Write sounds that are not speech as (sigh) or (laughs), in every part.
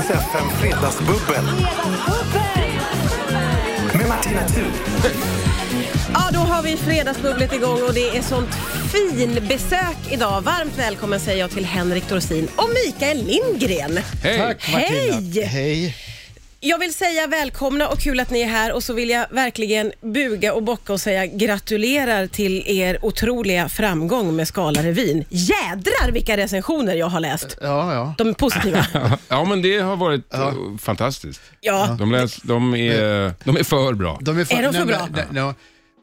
FM Fredagsbubbel med Martina Thun. Ja, då har vi fredagsbubblet igång och det är sånt fin besök idag. Varmt välkommen säger jag till Henrik Dorsin och Mikael Lindgren. Hej! Tack Hej! Martina. Hej. Jag vill säga välkomna och kul att ni är här och så vill jag verkligen buga och bocka och säga gratulerar till er otroliga framgång med Scala-revyn. Jädrar vilka recensioner jag har läst. Ja, (laughs) ja. De är positiva. Ja, men det har varit eh, fantastiskt. Ja. De, läs, de, är, de är för bra. De är, Är de för nej, bra? Men, nej, ja.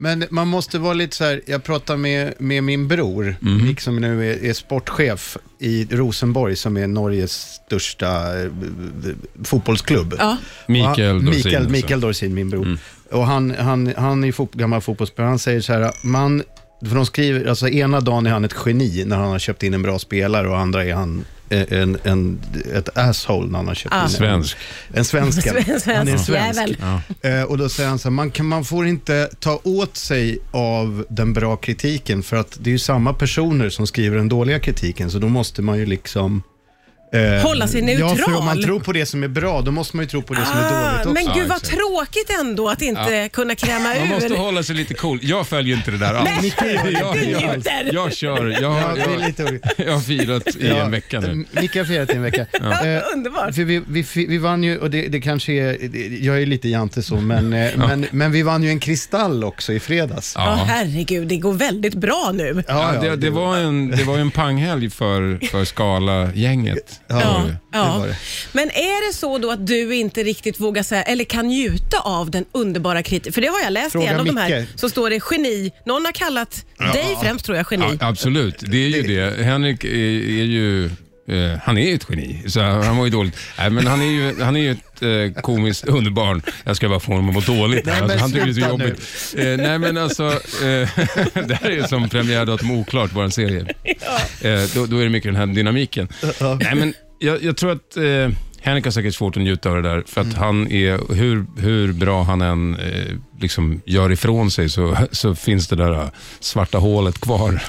men man måste vara lite så här, jag pratade med, med min bror, Mhm. Nick som nu är, är sportchef i Rosenborg, som är Norges största eh, b- b- fotbollsklubb. Ja. Mikael Ja, Dorsin, Mikael, alltså. Mikael Dorsin, min bror. Och han, han, han är ju fot, gammal fotbollsspelare, han säger så här, man, för de skriver, alltså ena dagen är han ett geni när han har köpt in en bra spelare och andra är han eh, en, en, ett asshole när han har köpt Ah. in en. Svensk. En svensk. Sven- Han är (laughs) en svensk svensk. jävel. Eh, och då säger han så här, man, kan, man får inte ta åt sig av den bra kritiken för att det är ju samma personer som skriver den dåliga kritiken så då måste man ju liksom... eh, Hålla sig Ja, för om man neutral. tror på det som är bra då måste man ju tro på det som är Ah, dåligt också. men gud vad exakt. tråkigt ändå att inte kunna kräma Man måste ur. hålla sig lite cool. Jag följer inte det där alls. Jag, jag, njuter. jag kör. Jag, Ja, har- det är jag, lite... jag har firat i en vecka nu. Micke har firat i (laughs) en vecka. Eh, Underbart. För vi, vi, vi vann ju, och det, det kanske är, det- jag är lite jante så, men, eh, men, men vi vann ju en kristall också i fredags. Ja, Ja. herregud, det går väldigt bra nu. Ja, Ja, det, det, var en, det var ju en panghelg för, för Skala-gänget. Ja, ja. var det. Men är det så då att du inte riktigt vågar säga, eller kan njuta av den underbara kritiken? För det har jag läst i Fråga en av de Micke. här, så står det geni. Någon har kallat dig främst tror jag Ja, geni. absolut, det är ju det. Henrik är, är ju... eh, han är ju ett geni, så han var ju dåligt. Nej, men han är ju, han är ju ett eh, komiskt underbarn. Jag ska bara få honom att må dåligt. här. Nej, men alltså, han tycker det är så sluta jobbigt. Eh, nej, men alltså, eh, (laughs) det här är ju som premiärdatum oklart, vår serie. Eh, då, då är det mycket den här dynamiken. Nej, men jag, jag tror att eh, Henrik har säkert svårt att njuta av det där, för att Mm. han är, hur, hur bra han än eh, liksom gör ifrån sig, så, så finns det där eh, svarta hålet (laughs) kvar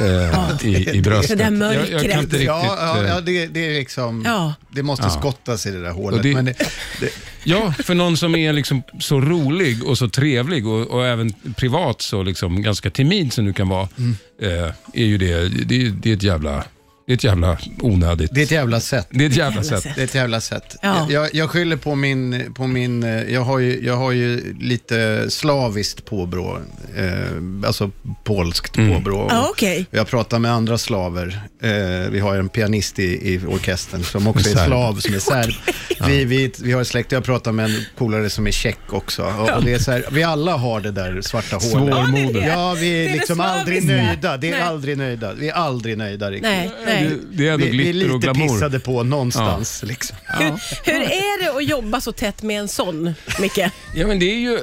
eh, i, i bröstet. Det där jag, mörkret. jag kan inte riktigt... Ja, ja, ja eh, det, det är liksom, Ja. det måste skottas i det där hålet. Och det- men det, det, Ja, för någon som är liksom så rolig och så trevlig och, och även privat så liksom ganska timid som du kan vara, Mm. eh, är ju det, det, är- det är ett jävla, det är ett jävla onödigt... det är ett jävla sätt. det är ett jävla Jävla sätt. sätt. Det är ett jävla sätt. Ja. Jag, jag skyller på min, på min eh, jag, har ju, jag har ju lite slaviskt påbrå, eh, alltså polskt Mm. påbrå. Och Ja, okej. Jag pratar med andra slaver. Eh, vi har en pianist i, i orkestern som också är Serb. slav, som är serb. (laughs) Vi, vi, vi har ett släkt, jag pratar med en polare som är tjeck också. Och, och det är så här, vi alla har det där svarta hålet. Ja, det är det. Ja, vi Det är, är det liksom aldrig slaviska. nöjda. Det är Nej. aldrig nöjda. Vi är aldrig nöjda riktigt. Nej, nej. Det- Det är ändå Vi, vi är glitter och lite glamour. pissade på någonstans. Liksom. Hur, hur är det att jobba så tätt med en sån, Micke? Ja, men det, är ju,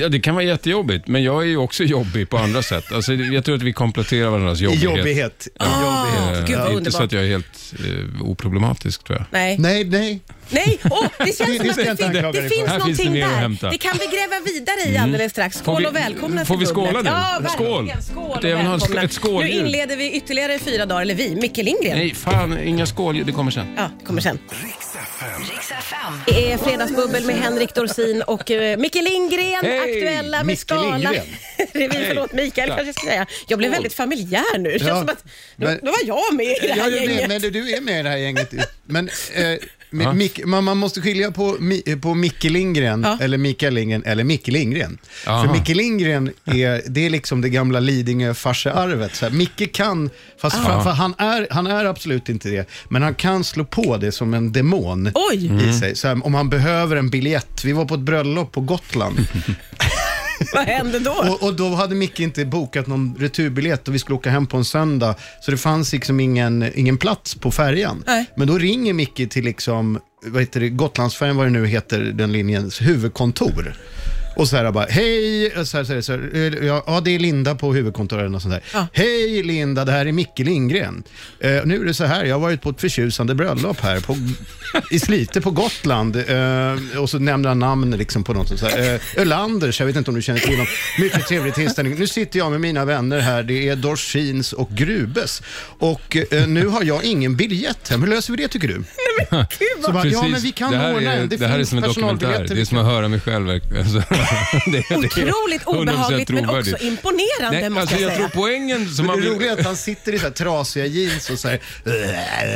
ja, det kan vara jättejobbigt, men jag är ju också (laughs) jobbig på andra sätt. Alltså, jag tror att vi kompletterar varandras jobbighet. Jobbighet. Ah, Gud, Eh, vad det är inte underbart. så att jag är helt eh, oproblematisk tror jag. Nej. Nej, nej. Nej, åh, det känns Det- som det att ska jag det, inte fin- anklaga det dig för. finns Här finns någonting det mer att där. hämta. Mm. Det kan vi gräva vidare i alldeles strax. Skål Får vi- och välkomna får till vi skåla bubblet. nu? Ja, Skål. verkligen. Skål och Jag vill ha ett sk- välkomna. ett skåldjur. Nu inleder vi ytterligare fyra dagar, eller vi, Micke Lindgren. Nej, fan, inga skål, det kommer sen. Ja, det kommer sen. Riks FM. Det är Fredagsbubbel med Henrik Dorsin och eh, Micke Lindgren, Hej! aktuella med Micke Skala. (laughs) Lindgren. Revy, förlåt Mikael kanske jag ska säga. Jag blev väldigt familjär nu. Det känns Ja, som att men- då var jag med i det Ja, här du, är med, gänget. men du- du är med i det här gänget. Men, eh, mi- Mick, man, man måste skilja på, Mi- på Micke Lindgren, Ja. eller Mikael Lindgren, eller Micke Lindgren. Aha. För Micke Lindgren är, det är liksom det gamla Lidingö-farsearvet. så här. Micke kan, fast Ah. framför, han, är, han är absolut inte det, men han kan slå på det som en demon. Oj! Mm. I sig. Så här, om han behöver en biljett. Vi var på ett bröllop på Gotland Vad hände då? Och, och då hade Micke inte bokat någon returbiljett och vi skulle åka hem på en söndag. Så det fanns liksom ingen, ingen plats på färjan. Nej. Men då ringer Micke till liksom, vad heter det, Gotlandsfärjan, vad det nu heter, den linjens huvudkontor. Och så här bara, hej, och så här, så här, så här, ja, ja det är Linda på huvudkontoret och sånt där. Ja. Hej Linda, det här är Micke Lindgren. Eh, nu är det så här, jag har varit på ett förtjusande bröllop här på, i Slite på Gotland. Eh, och så nämnde han namn liksom på något sånt. här. Eh, Ölanders, jag vet inte om du känner till honom. Mycket trevlig tillställning. Nu sitter jag med mina vänner här, det är Dorsins och Grubes. Och eh, nu har jag ingen biljett hem. Hur löser vi det tycker du? men gud Så vad... bara, ja, men vi kan det här ordna är, en. det här är finns som en dokumentär. Det personalbiljetter, är vi som att höra mig själv. verkligen. Alltså, (laughs) det, är- det är Otroligt 100% obehagligt men också trovärdigt. imponerande Nej, måste alltså, jag jag tror säga. poängen som man Det vill... roliga är att han sitter i så här trasiga jeans och, så här,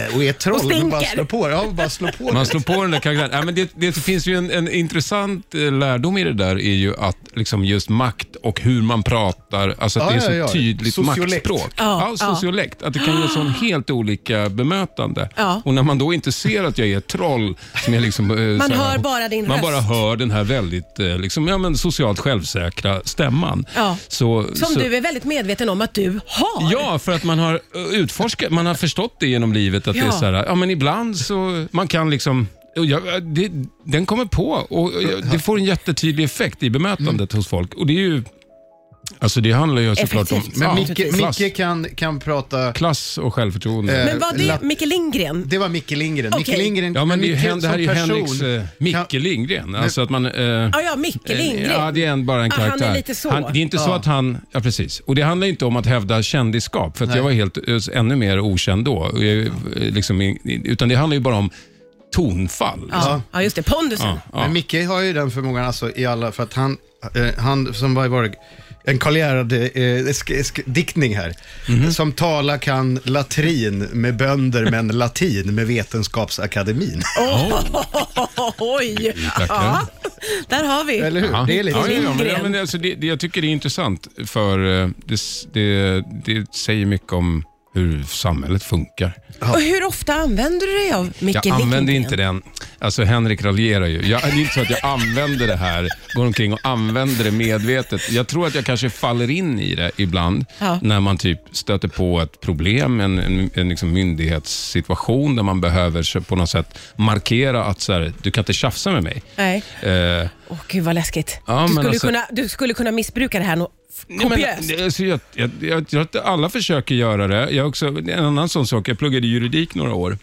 "Äh", och är ett troll Och och, stinker. bara slår på. Ja, och bara slår på. Man slår på den där karaktären. Ja, men det, det finns ju en, en intressant eh, lärdom i det där, är ju att liksom just makt och hur man pratar, alltså att Ja, det är så ja, ja. tydligt Sociolekt. maktspråk. Ja, ja. sociolekt. Att det kan ge sån helt olika bemötande. Ja. Och när man då inte ser att jag är ett troll, som är liksom, eh, så här- hör bara din Man röst. bara hör den här väldigt eh, liksom, ja, men socialt självsäkra stämman. Ja. Så, Som så, du är väldigt medveten om att du har. Ja, för att man har eh, utforskat, man har förstått det genom livet att det Ja. är så här, ja men ibland så, man kan liksom och jag, det, den kommer på och jag- det får en jättetydlig effekt i bemötandet hos folk. Och det är ju, alltså det handlar ju såklart om Effektivt. Eh, Men Ja, Micke, klass, Micke kan, kan prata... klass och självförtroende. Men var det Lapp- Micke Lindgren? Det var Micke Lindgren. Okej. Micke Lindgren ja, men det, är ju Micke Hen- det här är som ju person Henriks, eh, Micke kan- Lindgren. Alltså att man... eh, Ja, ja, Micke Lindgren. Ja, det är en, bara en Ah, han är karaktär. lite så. det är inte så Ja. att han... Ja, precis. Och det handlar inte om att hävda kändisskap, för att Nej. jag var helt, eh, ännu mer okänd då. Och jag, eh, Liksom, i- utan det handlar ju bara om tonfall. Liksom. Ja. ja, just det. Pondusen. Ja, ja. Men Micke har ju den förmågan alltså, i alla, för att han, eh, han som var varit en Karl Gerhard eh, sk- sk- diktning här, Mhm. som tala kan latrin med (laughs) bönder men latin med Vetenskapsakademin. (laughs) Oj! Verkligen. Ja, där har vi. Eller hur? Ja. Det är lite ja, ja, ja, men, Lindgren. ja, men alltså, det, det, Jag tycker det är intressant, för eh, det, s- det, det säger mycket om hur samhället funkar. Och hur ofta använder du dig av Micke Jag Lindgren? använder inte den. Alltså Henrik raljerar ju. Jag, det är inte så att jag använder det här, går omkring och använder det medvetet. Jag tror att jag kanske faller in i det ibland Ja. när man typ stöter på ett problem, en, en, en liksom myndighetssituation där man behöver så- på något sätt markera att så här, du kan inte tjafsa med mig. Nej. Eh, Åh, gud vad läskigt. Ja, du, men skulle alltså- kunna, du skulle kunna missbruka det här nå- Nej, men, kopiöst. det- alltså, jag, jag, jag, jag tror att alla försöker göra det. Jag har också, en annan sån sak, jag pluggade juridik några år,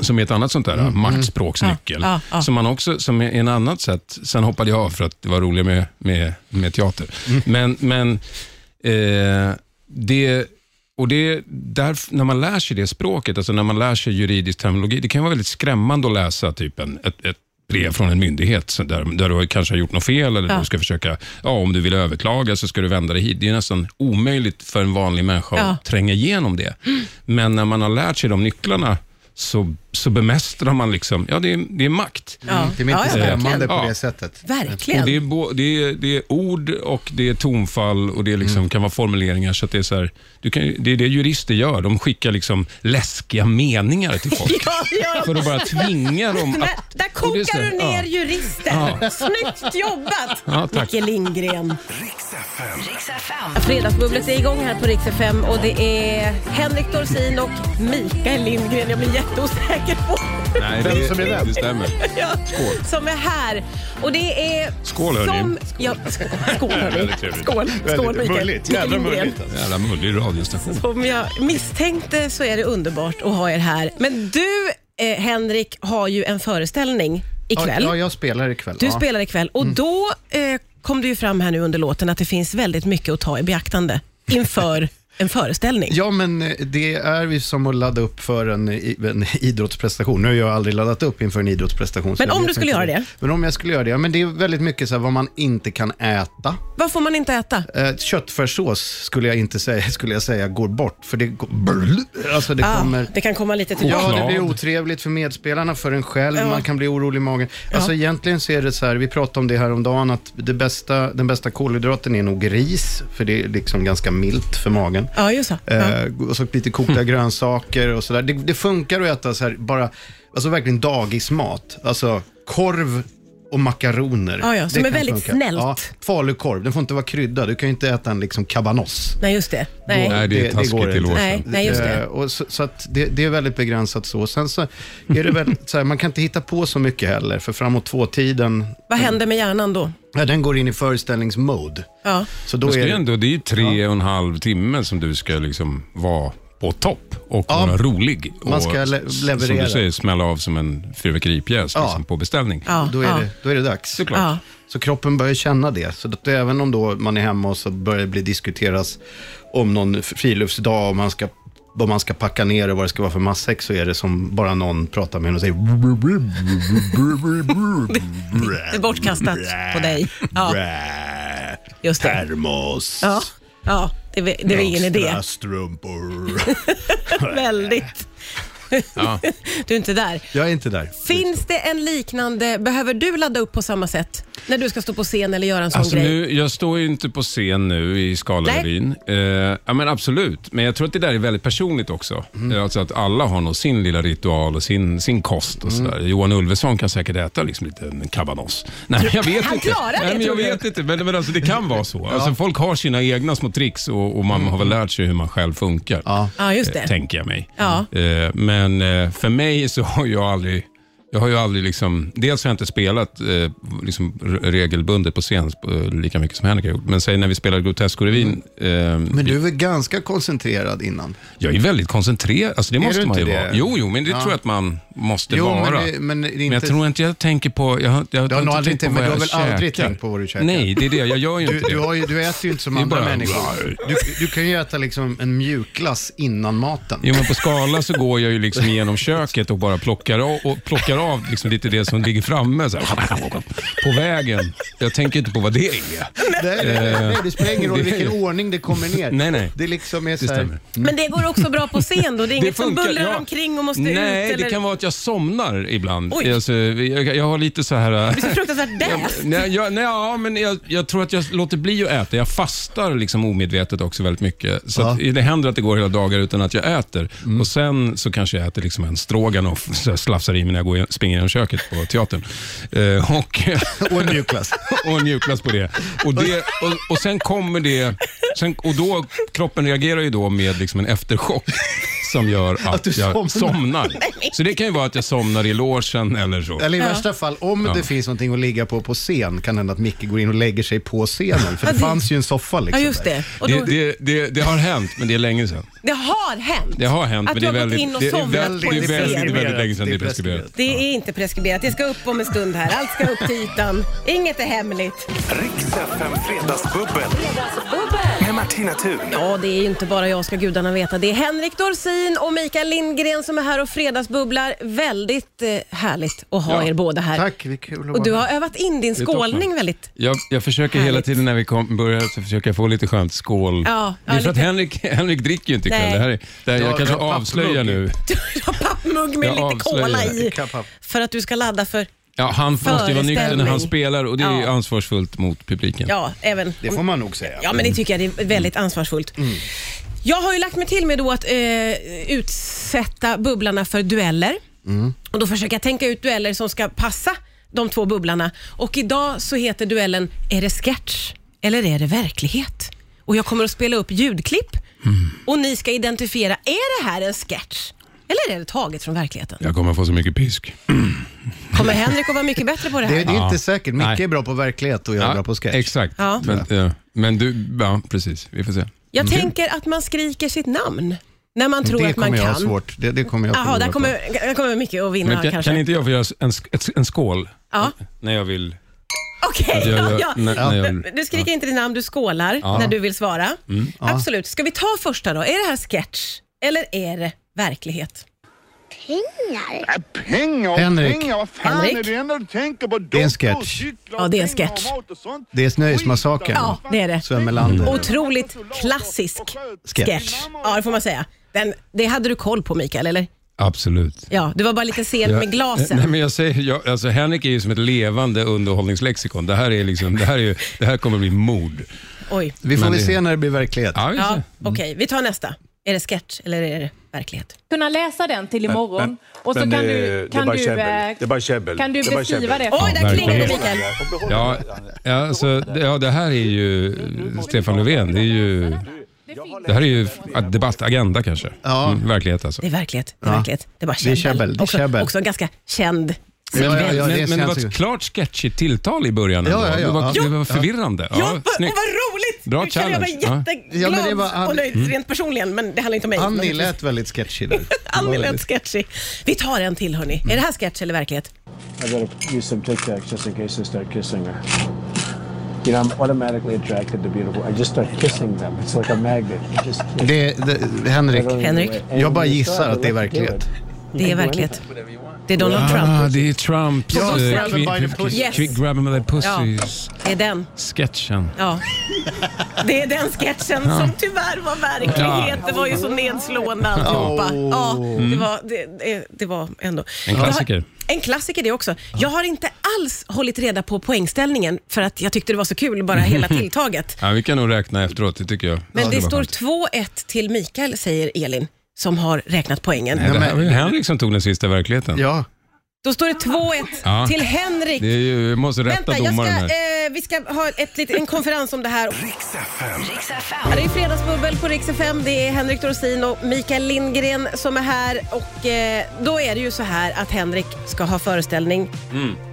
som är ett annat sånt där maktspråksnyckel, Mm, Ja, ja, ja. som man också, som är en annat sätt, sen hoppade jag av för att det var roligt med, med, med teater. Mm. Men, men eh, det, och det, där, när man lär sig det språket, alltså när man lär sig juridisk terminologi, det kan vara väldigt skrämmande att läsa typ en, ett, ett brev från en myndighet så där, där du kanske har gjort något fel eller Ja. du ska försöka, ja, om du vill överklaga så ska du vända dig hit. Det är nästan omöjligt för en vanlig människa Ja. Mm. att tränga igenom det. Men när man har lärt sig de nycklarna så, så bemästrar man liksom, ja det är, det är makt. Ja. Det är inte Ja, ja, skrämmande verkligen. på Ja. det sättet. Verkligen. Och det, är bo, det, är, det är ord och det är tonfall och det är liksom, kan vara formuleringar. Så att det, är så här, du kan, ju- det är det jurister gör. De skickar liksom läskiga meningar till (laughs) folk. Ja, ja. För att bara tvinga dem Där, att... där och det är så kokar här, du ner ja. juristen. Snyggt jobbat, Ja, tack. Micke Lindgren. Riks FM. Riks FM. Fredagsbubblet är igång här på Rix FM och det är Henrik Dorsin och Mikael Lindgren. Jag blir jätteosäker på Nej, Vem det, som är vem? Det stämmer. ja, (laughs) som är här. Och det är... Skål, hörni. Som, ja, (laughs) sk- skål hörni. Väldigt trevligt. Skål, skål Väldigt Mikael. mulligt, Mikael jävla Lindgren. mulligt alltså. Jävla mullig radiostation. Som jag misstänkte så är det underbart att ha er här. Men du, eh, Henrik, har ju en föreställning ikväll. Ja, jag spelar ikväll. Du ja. Mm. spelar ikväll och då eh, kom det ju fram här nu under låten att det finns väldigt mycket att ta i beaktande (laughs) inför en föreställning. Ja, men eh, det är ju som att ladda upp för en, i- en idrottsprestation. Nu har jag aldrig laddat upp inför en idrottsprestation. så Men jag om vet du skulle inte göra det? Men om jag skulle göra det? Ja, men det är väldigt mycket så här, vad man inte kan äta. Vad får man inte äta? Eh, Köttfärssås skulle jag inte säga, (laughs) skulle jag säga går bort, för det, går- brl, alltså det Ah, kommer... det kan komma lite tillbaka. Ja, Choklad. det blir otrevligt för medspelarna, för en själv, Ja. man kan bli orolig i magen. Alltså egentligen så är det så här, vi pratade om det här om dagen att det bästa, den bästa kolhydraten är nog ris, för det är liksom ganska milt för magen. Ja, just det. Ja. Eh, och så (laughs) lite kokta grönsaker och sådär. Det, det funkar att äta så här, bara, alltså verkligen dagismat. Alltså korv och makaroner. Ja, ja, som Det är kan väldigt funka. snällt. Ja, falukorv, den får inte vara kryddad. Du kan ju inte äta en liksom kabanoss. Nej, just det. Nej. Nej, det Det- är det taskigt går till inte. år Nej, sedan. nej, just Eh, det. och så så att det, det är väldigt begränsat så. Sen så är det väl så här, man kan inte hitta på så mycket heller, för framåt tvåtiden, Vad händer med hjärnan då? ja, den går in i föreställningsmode. Ja. Så då Men är ska det, det, ändå, det är ju tre och en halv timme som du ska liksom vara på topp och vara rolig. Och, Man ska le- s- Som leverera. du säger, smälla av som en fyrverkeripjäs Ja. liksom, på beställning. Ja, då, är ja. det, då är det dags. Ja. Så kroppen börjar känna det. Så att även om då man är hemma och så börjar det bli diskuteras om någon friluftsdag och man ska vad man ska packa ner och vad det ska vara för matsäck så är det som bara någon pratar med en och (laughs) Det är säger... bortkastat på dig. (laughs) Ja, just det. Termos. Ja, ja det, är- det är ingen idé. Extra strumpor. (laughs) (laughs) Väldigt. Ja. (laughs) Du är inte där. Jag är inte där. Finns det en liknande, behöver du ladda upp på samma sätt när du ska stå på scen eller göra en sån Alltså grej? nu, jag står ju inte på scen nu i Skalarevyn. Eh, ja, men absolut, men jag tror att det där är väldigt personligt också. Mm. Eh, Alltså att alla har nog sin lilla ritual och sin, sin kost och Mm. sådär. Johan Ulveson kan säkert äta liksom lite en kabanoss. Nej, men jag vet Han inte. klarar det, Nej, men jag tror du? vet inte, men, men alltså, det kan (laughs) vara så. Alltså, folk har sina egna små tricks och, och man har väl lärt sig hur man själv funkar. Ja. Mm. Ja, just Eh, det. tänker jag mig. Ja. Eh, Men eh, för mig så har jag aldrig, jag har ju aldrig liksom, dels har jag inte spelat eh, liksom re- regelbundet på scen eh, lika mycket som Henrik har gjort, men säg när vi spelade Grotesco-revyn, eh, Men du är väl ganska koncentrerad innan? jag är väldigt koncentrerad, alltså det Är måste du man ju inte det? vara. Jo, jo, men det tror jag att man måste vara. men, det, men, det är inte... Men jag tror inte jag tänker på... Jag, har- jag, Du har nog aldrig tänkt- vad men du jag har väl aldrig käkar. tänkt på vad du käkar? Nej, det är det. Jag gör ju Du, inte du, det. har ju, du äter ju inte som Det är andra bara- människor. Du, du kan ju äta liksom en mjukglass innan maten. Jo, men på skala så går jag ju liksom genom köket och bara plockar av, och plockar av liksom lite det som ligger framme så här, på vägen. Jag tänker inte på vad det är. Nej, nej, nej, det spelar ingen roll Eh. det- vilken ordning det kommer ner. Nej, nej. Det liksom är Det så här, stämmer. Men det går också bra på scen (laughs) då? Det är inget som bullrar Mm. ja. omkring och måste Nej, ut? Nej, eller... det kan vara att jag somnar ibland. Oj. Alltså, jag, jag har lite så här... äh, Det är så fruktansvärt däst. Nej, jag, nej, ja, men jag, jag tror att jag låter bli att äta. Jag fastar liksom omedvetet också väldigt mycket. Så att Det händer att det går hela dagar utan att jag äter. Och Sen så kanske jag äter liksom en stroganoff, (laughs) så jag slafsar i mig när jag går, igen- springer genom köket på teatern. Eh, och, och en mjukglass. (laughs) och en mjukglass på det. Och, det, och, och sen kommer det... Sen, och då, kroppen reagerar ju då med liksom en efterchock som gör att, Att du jag somnar. somnar. Så det kan ju vara att jag somnar i logen eller så. Eller i värsta fall, om det finns någonting att ligga på på scen, kan det hända att Micke går in och lägger sig på scenen. För det fanns ju en soffa Ja, liksom. just där. det. Och då, Det, det, det, det, det har hänt, men det är länge sedan. har hänt. Det har hänt, Att men du det är har gått väldigt, in och det är somnat väldigt, på det är en väldigt, scen. väldigt, väldigt länge sedan Det det är är preskriberat. Det är inte preskriberat. Det ska upp om en stund här. Allt ska upp till ytan. Inget är hemligt. Riks FM Fredagsbubbel. Med Martina Thun. Ja, det är ju inte bara jag ska gudarna veta. Det är Henrik Dorsin och Mikael Lindgren som är här och fredagsbubblar. Väldigt eh, härligt att ha Ja. er båda här. Tack, det är kul att vara Och du med. har övat in din toppen. skålning väldigt. (laughs) Jag, jag försöker hela Härligt. tiden när vi kom, börjar så försöker jag få lite skönt skål. Ja, det är ja, för att lite. Henrik, Henrik dricker ju inte ikväll. Nej. Det här är, det här, Du har- jag kanske du har avslöjar pappmugg. nu. Du har pappmugg med Jag lite avslöjar cola det. i. Kapp, kapp. För att du ska ladda för, Ja, han måste ju vara nykter när han Föreställning. spelar och det är ju Ja. ansvarsfullt mot publiken. ja, även Det får man Mm. nog säga. Ja, men det tycker jag. Det är väldigt ansvarsfullt. Jag har ju lagt mig till med då att eh, utsätta bubblarna för dueller. Mm. Och Då försöker jag tänka ut dueller som ska passa de två bubblarna. Och Idag så heter duellen Är det sketch eller är det verklighet? Och Jag kommer att spela upp ljudklipp Mm. och ni ska identifiera, är det här en sketch? Eller är det taget från verkligheten? Jag kommer få så mycket pisk. Kommer Henrik att vara mycket bättre på det Det, det här? är inte säkert. Micke Nej. är bra på verklighet och jag är bra på sketch. Exakt. Ja. Men, ja. men du, ja precis. Vi får se. Mm. Jag tänker att man skriker sitt namn när man tror Mm. det att man kommer jag ha kan. svårt. Det, det kommer jag Jaha, förlora där på. kommer, där kommer mycket att vinna Men kan, kanske. kan inte jag få göra en, sk- ett- en skål? Ja. När jag vill. Okej, Att jag ja, gör- ja. när- när jag vill. Du skriker inte ditt namn, du skålar när du vill svara. Mm. Absolut. Ska vi ta första då? Är det här sketch eller är det verklighet? pengar. Äh, Pengar och Henrik. pengar, vad fan Henrik. är det enda du tänker på? är en Doktor, sketch. cyklar, Ja, det är en pengar och sketch. mat och sånt. Det är Snöismassakern. Ja, det är det. Sven Melander. Otroligt klassisk Sketch. sketch. Ja, det får man säga. Den, det hade du koll på Mikael, eller? Absolut. Ja, du var bara lite sen med glasen. Nej, men jag säger, jag, alltså, Henrik är ju som ett levande underhållningslexikon. Det här, är liksom, det här, är ju, det här kommer bli mord. Oj. Vi får Men väl det- se när det blir verklighet. Ja, vi får Ja, se. Okej, vi tar nästa. Är det sketch eller är det verklighet? kunna läsa den till imorgon. men- och så men kan det- du, det är kan bara du, käbbel. eh, Det är bara käbbel. Kan du Det är bara beskriva käbbel. det? Oj, där verkligen. klingade det Mikael. Ja, ja, alltså, det- ja, det här är ju Stefan Löfven. Det, är ju, det här är ju ja, debatt, agenda kanske. Ja. Mm, verklighet alltså. Det är verklighet. Det är, verklighet. Det är bara Det är käbbel. käbbel, det är också, käbbel. också en ganska känd. Ja, ja, ja, det är men, men det var sensor- ett klart sketchigt tilltal i början. ändå. Ja, ja, ja. Det, var, Ja. det var förvirrande. Ja, Ja, vad, och vad snyggt. roligt! Bra nu känner jag mig challenge. Ja. Mm. jätteglad Ja, men det var Ann- och nöjd rent personligen, men det handlar inte om mig. Annie Men- lät väldigt sketchy (laughs) där. (laughs) Annie lät sketchy. Vi tar en till hörni. Är det här sketch eller verklighet? I gotta use some Tic Tacs just in case they start kissing her. you know, I'm automatically attracted to beautiful. I just start kissing them. It's like a magnet. You just kiss. Det, det, Henrik, Henrik. jag bara gissar att det är verklighet. Det är verklighet. Det är Donald Ah, Trump. det är Trumps... Ja, eh, grab him by the kvi- pussy. kvi- kvi- Grab him by the pussies. Det är den. Sketchen. Ja. Det är den sketchen som tyvärr var verklighet. Det var ju så nedslående alltihopa. Ja, det, var, det, det, det var ändå. En klassiker. Jag Har, en klassiker det också. Jag har inte alls hållit reda på poängställningen för att jag tyckte det var så kul, bara (laughs) hela tilltaget. Ja, vi kan nog räkna efteråt, det tycker jag. Men det var står skönt. 2-1 till Mikael, säger Elin, som har räknat poängen. Nej, det här var ju Henrik som tog den sista i verkligheten. Ja, Då står det 2-1 Ja. till Henrik. Det är ju, vi måste rätta Vänta, jag ska, domaren här. eh, vi ska ha ett, lit- en konferens om det här. Riks FM. Ja, Det är Fredagsbubbel på Rix FM. Det är Henrik Dorsin och Mikael Lindgren som är här. Och eh, då är det ju så här att Henrik ska ha föreställning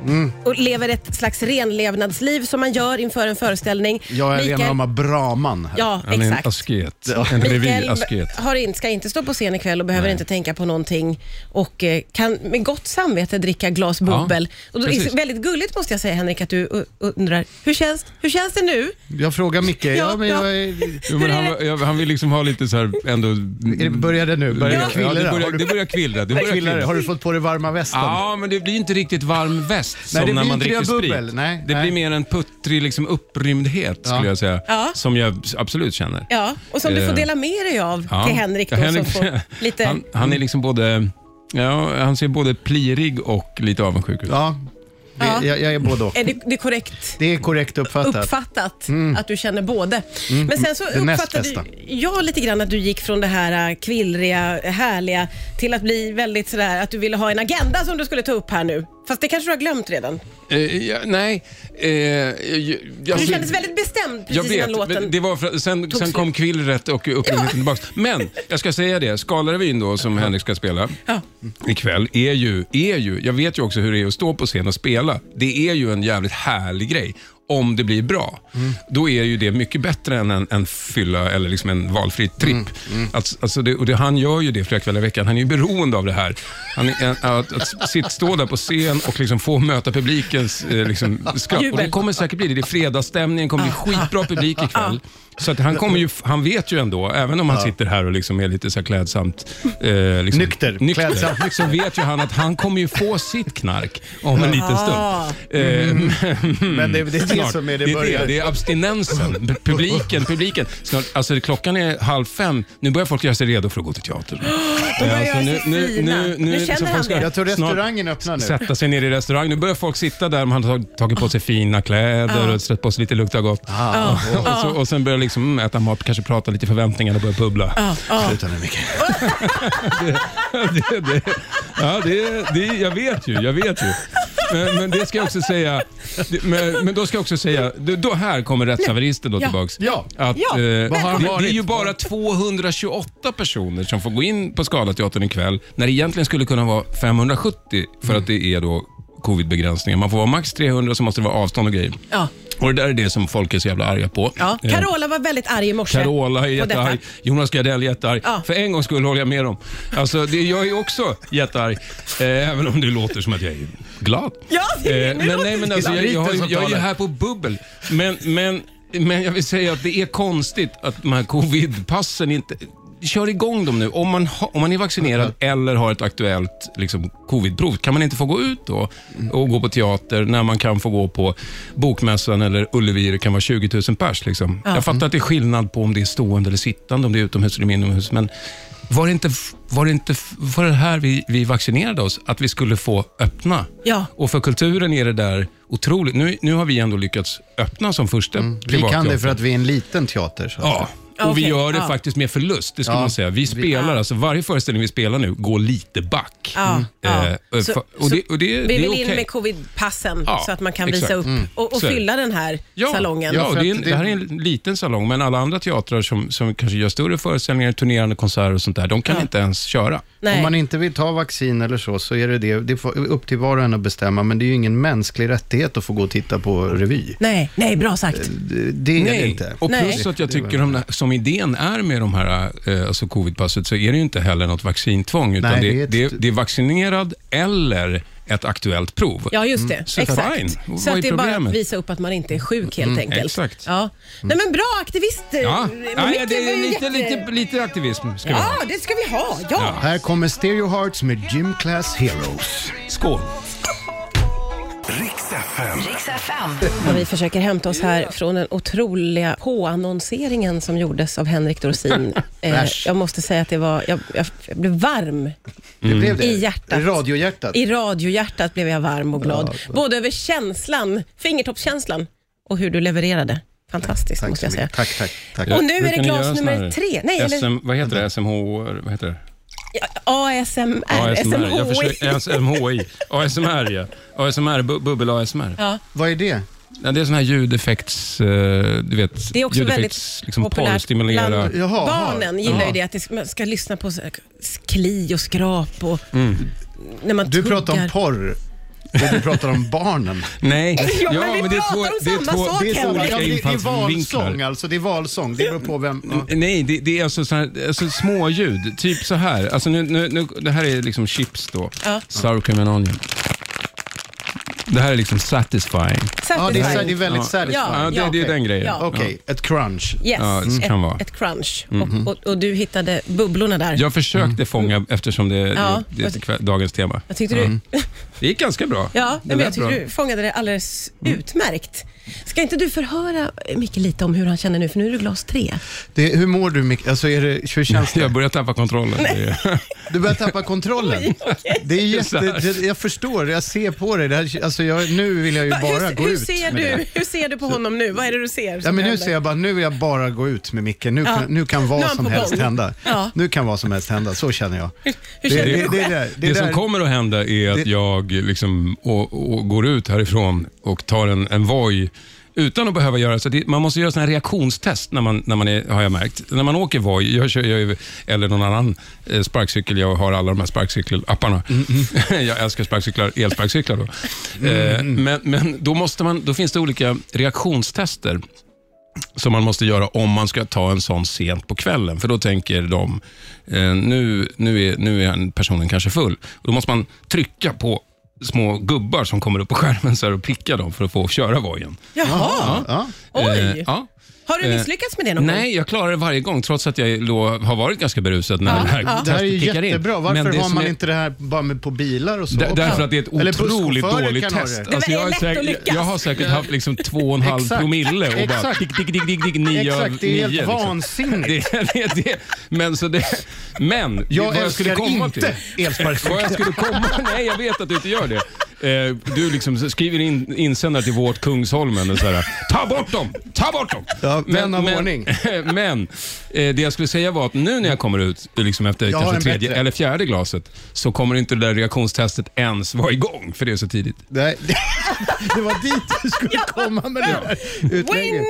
Mm. och lever ett slags renlevnadsliv som man gör inför en föreställning. jag är Mikael- rena braman här. Ja, Han är en exakt. asket. En Mikael revirasket. har in, ska inte stå på scen ikväll och behöver inte tänka på någonting och eh, kan med gott samvete dricka glas bubbel. och då, precis. väldigt gulligt måste jag säga Henrik att du uh, undrar, hur känns, hur känns det nu? Jag frågar Micke, ja, men jag är... Jo, men Hur är han, det? var- ja, han vill liksom ha lite så här ändå... Är det- Börjar det nu? Börjar det ja, det, kvillra? börjar, Har du- det börjar kvillra. Det börjar Kvillrar, kvillra. Har du fått på dig varma västen? Ja, men det blir inte riktigt varm väst som Nej, det när blir man inte dricker det bubbel. sprit. Nej, det nej. blir mer en puttrig liksom, upprymdhet skulle Ja. jag säga. Ja. Som jag absolut känner. Ja, och som du får Eh, dela med dig av Ja. till Henrik då, Ja, som får lite... han, han är liksom både... Ja, han ser både plirig och lite avundsjuk ut. Ja, det, Ja. Jag, jag är både och. Är det, det är korrekt Det är korrekt uppfattat. uppfattat att du känner både? Men sen så det näst uppfattade bästa. ju jag lite grann att du gick från det här äh, kvillriga, härliga till att bli väldigt sådär att du ville ha en agenda som du skulle ta upp här nu. Fast det kanske du har glömt redan. Eh, ja, nej, eh, jag, jag, Du jag- kändes väldigt bestämd Jag precis innan vet, men låten. det var för, sen, tog sen kom kvillret och upprymningen tillbaka. Men jag ska säga det, Skalarevyn då som Henrik ska spela Ja. ikväll är ju, är ju, jag vet ju också hur det är att stå på scen och spela. Det är ju en jävligt härlig grej. Om det blir bra, då är ju det mycket bättre än en, en fylla eller liksom en valfri tripp. Alltså, alltså det, och det, han gör ju det flera kvällar i veckan. Han är ju beroende av det här. Han är, att, att sitt, stå där på scen och liksom få möta publikens eh, liksom, skratt. Och det Jubel. kommer säkert bli det. Det är fredagsstämningen, kommer bli skitbra publik ikväll. Så att han, kommer ju, han vet ju ändå, även om han sitter här och liksom är lite så här klädsamt... Eh, liksom, Nykter. (laughs) Klädsamt så vet ju han att han kommer ju få sitt knark om en liten stund. Eh, Men det, det är Mm-hmm. det snart. som det, är det är det, börjar. det är abstinensen. Publiken, publiken. Snart, alltså, klockan är halv fem. Nu börjar folk göra sig redo för att gå till (gasps) teatern. börjar Eh, göra sig fina. Nu känner så folk han ska det. Jag tror snart- restaurangen öppnar nu. sätta sig ner i restaurang. Nu börjar folk sitta där, man har tag- tagit på sig fina kläder och stött på sig lite luktar gott. Ah, Och, och, så, och sen börjar liksom mm, äta mat, kanske prata lite förväntningar och börja bubbla. Sluta nu Micke. Det, det, ja, det, det, jag vet ju, jag vet ju. Men, men det ska jag också säga, det- men, men då ska jag också säga, då- då här kommer rättshaveristen då Ja. tillbaks. Ja. Att, Ja, eh, Vad har han det, det är varit? ju bara 228 personer som får gå in på Scalateatern ikväll, när det egentligen skulle kunna vara 570 för att Mm. det är då covidbegränsningar. Man får vara max 300 så måste det vara avstånd och grejer. Ja. Och det där är det som folk är så jävla arga på. Ja. Eh, Carola var väldigt arg i morse. Carola är på detta. jättearg. Jonas Gardell är jättearg. Ja. För en gångs skull håller jag med dem. Alltså, det, jag är också jättearg. Eh, även om det låter som att jag är glad. Ja, det- nu men, låter nej, men alltså, jag, jag, har ju- jag är ju här på bubbel. Men, men, men jag vill säga att det är konstigt att de här covidpassen inte... Kör igång dem nu. Om man, ha, om man är vaccinerad eller har ett aktuellt liksom, covidprov, kan man inte få gå ut då och gå på teater när man kan få gå på Bokmässan eller Ullevi? Det kan vara 20 000 pers. Liksom. Jag fattar att det är skillnad på om det är stående eller sittande, om det är utomhus eller inomhus, men var det inte, var det inte var det här vi, vi vaccinerade oss? Att vi skulle få öppna? Ja. Och för kulturen är det där otroligt. Nu, nu har vi ändå lyckats öppna som första Mm, Vi kan privatteater. det för att vi är en liten teater. Så. Ja, och vi Okej, gör det ja. faktiskt med förlust, det ska Ja. man säga. Vi spelar, alltså varje föreställning vi spelar nu går lite back. Ja, ja. Eh, och Så- fa- och det, och det, Vi det är vill okej. in med covidpassen Ja, så att man kan exakt. Mm. visa upp och, och Så är det. fylla den här Ja, salongen. Ja, För det, är att en, det- det här är en liten salong, men alla andra teatrar som, som kanske gör större föreställningar, turnerande konserter och sånt där, de kan inte ens köra. Nej. Om man inte vill ta vaccin eller så, så är det det. Det är upp till var och en att bestämma, men det är ju ingen mänsklig rättighet att få gå och titta på revy. Nej, nej, bra sagt. Det, det är det Nej, inte. och Nej. plus att jag tycker de där, som som idén är med de här, eh, alltså covidpasset, så är det ju inte heller något vaccintvång, utan Nej, det, det det, är är ett- det är vaccinerad eller ett aktuellt prov. Ja, just det. Mm. Så exakt. fine. Vad Så är att det är bara att problemet? Mm. visa upp att man inte är sjuk helt enkelt. exakt. Ja. Nej, men bra aktivist. Ja, Men Nej, Micke det Eh, var är ju lite, jätte- lite, lite aktivism ska vi ha. Ja, det ska vi ha. Ja. Här kommer Stereo Hearts med Gym Class Heroes. Skål! Riks FM. Rix FM. Och vi försöker hämta oss här från den otroliga påannonseringen som gjordes av Henrik (laughs) Dorsin. Eh, Äsch. jag måste säga att det var, jag, jag, jag blev varm Det blev det. Mm. I hjärtat. I radiohjärtat. I radiohjärtat blev jag varm och glad. Både över känslan, fingertoppskänslan och hur du levererade. Fantastiskt Tack måste så jag säga. mycket. Tack, tack, tack. Och nu är Brukar det ni göra glas såna nummer här tre. Nej, eller SM, vad heter det? SMH? Vad heter det? ASMR, ASMR. Jag försöker, SMHI. (laughs) SMHI. ASMR, ja. ASMR, bu- bubbel-ASMR. Vad är det? Ja, det är sån här ljudeffekts... eh, Du vet, Det är också ljudeffekts, väldigt liksom populärt porrstimulera. bland Jaha, barnen. jaha. gillar ju det att det ska, man ska lyssna på så här kli och skrap och när man Mm. Du pratar om tuggar. porr. Och du pratar om (laughs) barnen. Nej, Ja, men vi pratar om samma sak, det är två Henrik. olika Ja, men det, det är valsång infallsvinklar. alltså. Det är valsång. Det beror på vem. Ja. Nej, det, det är alltså, sån här, alltså småljud. Typ så här. Alltså nu, nu, nu, det här är liksom chips då. Ja. Sour cream and onion. Det här är liksom satisfying. Ja, det, är, så- Satisfying. det är väldigt satisfying. Ja, det, det är den grejen. Ja. Okej, ett crunch. Yes, Ja, det kan ett, vara. Mhm. ett crunch. Och, och, och du hittade bubblorna där. Jag försökte Mm. fånga, eftersom det, Ja. det, det är kväll- dagens tema. Jag tyckte du, Det gick ganska bra. ja, Mm. det men jag lät tyckte bra. Mm. du fångade det alldeles utmärkt. Ska inte du förhöra eh, Micke lite om hur han känner nu? För nu är det glas tre. Det, hur mår du Mick? Alltså, är det, hur känns det? Jag börjar tappa kontrollen. (laughs) Det- Du börjar tappa (laughs) kontrollen. Det är jätte, Så här. det, jag förstår, jag ser på dig. Det här, alltså jag, nu vill jag ju Va, bara hur, gå hur, ut. ser med du, det. hur ser du på honom nu? Vad är det du ser? Ja, som men nu händer? ser jag bara, nu vill jag bara gå ut med Micke. Nu Ja. kan, nu kan vad Nu är han som på helst gång. hända. Ja. Nu kan vad som helst hända, så känner jag. Hur känner du själv? där- Det, som där- kommer att hända är att det- jag liksom och, och går ut härifrån och tar en, en Voi utan att behöva göra så. Det, man måste göra såna här reaktionstest när man, när man är, har jag märkt. När man åker Voi, jag kör, jag, är- eller någon annan eh, sparkcykel, jag har alla de här sparkcykelapparna. (laughs) Mm, jag älskar sparkcyklar, elsparkcyklar då. Eh, mm, men men då, måste man, då finns det olika reaktionstester som man måste göra om man ska ta en sån sent på kvällen. För då tänker de, eh, nu, nu, är, nu är han- personen kanske full. Och då måste man trycka på små gubbar som kommer upp på skärmen så här och pricka dem för att få köra vojen. Eh, Jaha, Ja. oj. ja. Har du misslyckats med det någon gång? Nej, jag klarar det varje gång trots att jag då har varit ganska berusad när den här Det här är ju testet kickar in. jättebra. Varför Men det har som man är- inte det här bara med på bilar och så? Dä- också? Därför att det är ett Eller otroligt busschaufförer dåligt kan ha test. Alltså, det. Det var jag, är lätt att lyckas. jag har säkert haft liksom två och en halv Exakt. promille och bara Exakt. tick, tick, tick, tick, tick, nio av Exakt, det är nio, helt liksom. vansinnigt. Det, (laughs) det, det. Men, så det, men Jag vad jag skulle älskar komma inte till. Vad jag elsparkcyklar. skulle komma... (laughs) Nej, jag vet att du inte gör det. Eh, Du liksom skriver in insändare till vårt Kungsholmen och så här, ta bort dem, ta bort dem. Ja, vän av ordning. (laughs) Men eh, det jag skulle säga var att nu när jag kommer ut liksom efter Jag har kanske en tredje bättre. eller fjärde glaset så kommer inte det där reaktionstestet ens vara igång för det är så tidigt. Nej, (laughs) det var dit du skulle komma med det där utlägget.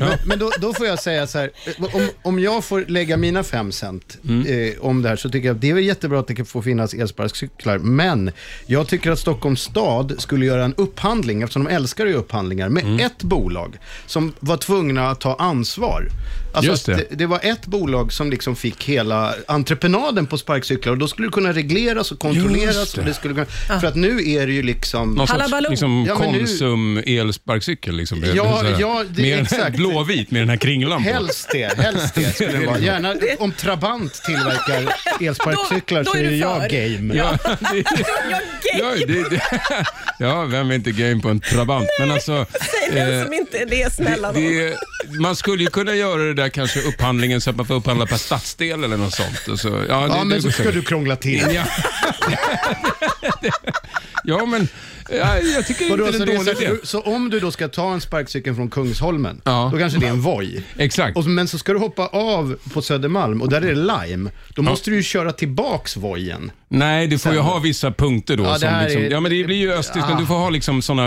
Men, men då, då får jag säga så här, eh, om, om jag får lägga mina fem cent Mm. eh, om det här så tycker jag att det är väl jättebra att det kan få finnas elsparkcyklar, men jag tycker att Stockholms stad skulle göra en upphandling, eftersom de älskar ju upphandlingar, med Mm. ett bolag som var tvungna att ta ansvar. Alltså Just att det. det, det var ett bolag som liksom fick hela entreprenaden på sparkcyklar och då skulle det kunna regleras och kontrolleras. Just det. Och det skulle kunna, för att nu är det ju liksom... Någon sorts Hallabaloo. liksom, Ja, men nu- Konsum elsparkcykel. Liksom. Ja, Så här, ja, det- med Den här exakt. blåvit med den här kringlan på. Helst det, helst det (laughs) skulle det vara. Gärna om Trabant tillverkar elsparkcyklar Då- då så är är du jag för. game. Ja, (laughs) det, ja, det, det, (laughs) ja, vem är inte game på en Trabant? Men alltså, Säg eh, den som inte är det, snälla nån. det, man skulle ju kunna göra det där kanske upphandlingen så att man får upphandla per stadsdel eller något sånt. Och så, ja, det, Ja, det men går så ska säkert. du krångla till. Ja. (laughs) ja, men ja, jag tycker Vadå, inte så, det är det en dålig är idé. så, så om du då ska ta en sparkcykel från Kungsholmen, Ja. då kanske det är en Voi. Exakt. Och, så- men så ska du hoppa av på Södermalm och där är det Lime. Då måste du ju köra tillbaks Voien. Nej, du får ju ha vissa punkter då. Ja, det som här liksom, är- ja, men det blir ju östtyskt, men du får ha liksom såna,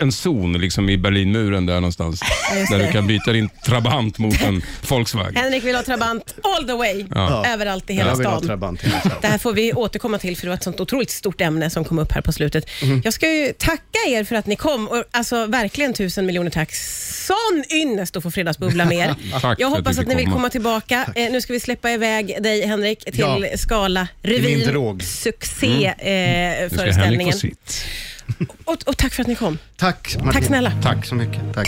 en zon liksom i Berlinmuren där någonstans. där du kan byta din Trabant mot en Volkswagen. Henrik vill ha Trabant all the way, Ja. överallt i hela Jag vill ha stan. Trabant. hela tiden. Mhm. Det här får vi återkomma till för det var ett sånt otroligt stort ämne som kom upp här på slutet. Jag ska jag ju tacka er för att ni kom. Och, alltså verkligen tusen miljoner tack. Sån ynnest att få Fredagsbubbla med er. (laughs) jag Tack för att hoppas vi att ni fick vill komma. komma tillbaka. Eh, nu ska vi släppa iväg dig Henrik till Ja. Scala min revyn. drog. Mm. Nu ska Henrik få Succéföreställningen. sitt. och, och tack för att ni kom. Tack Martin. Tack snälla. Tack så mycket. Tack.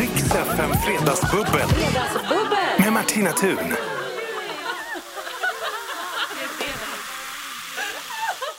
Riks FM Fredagsbubbel. Med Martina Thun.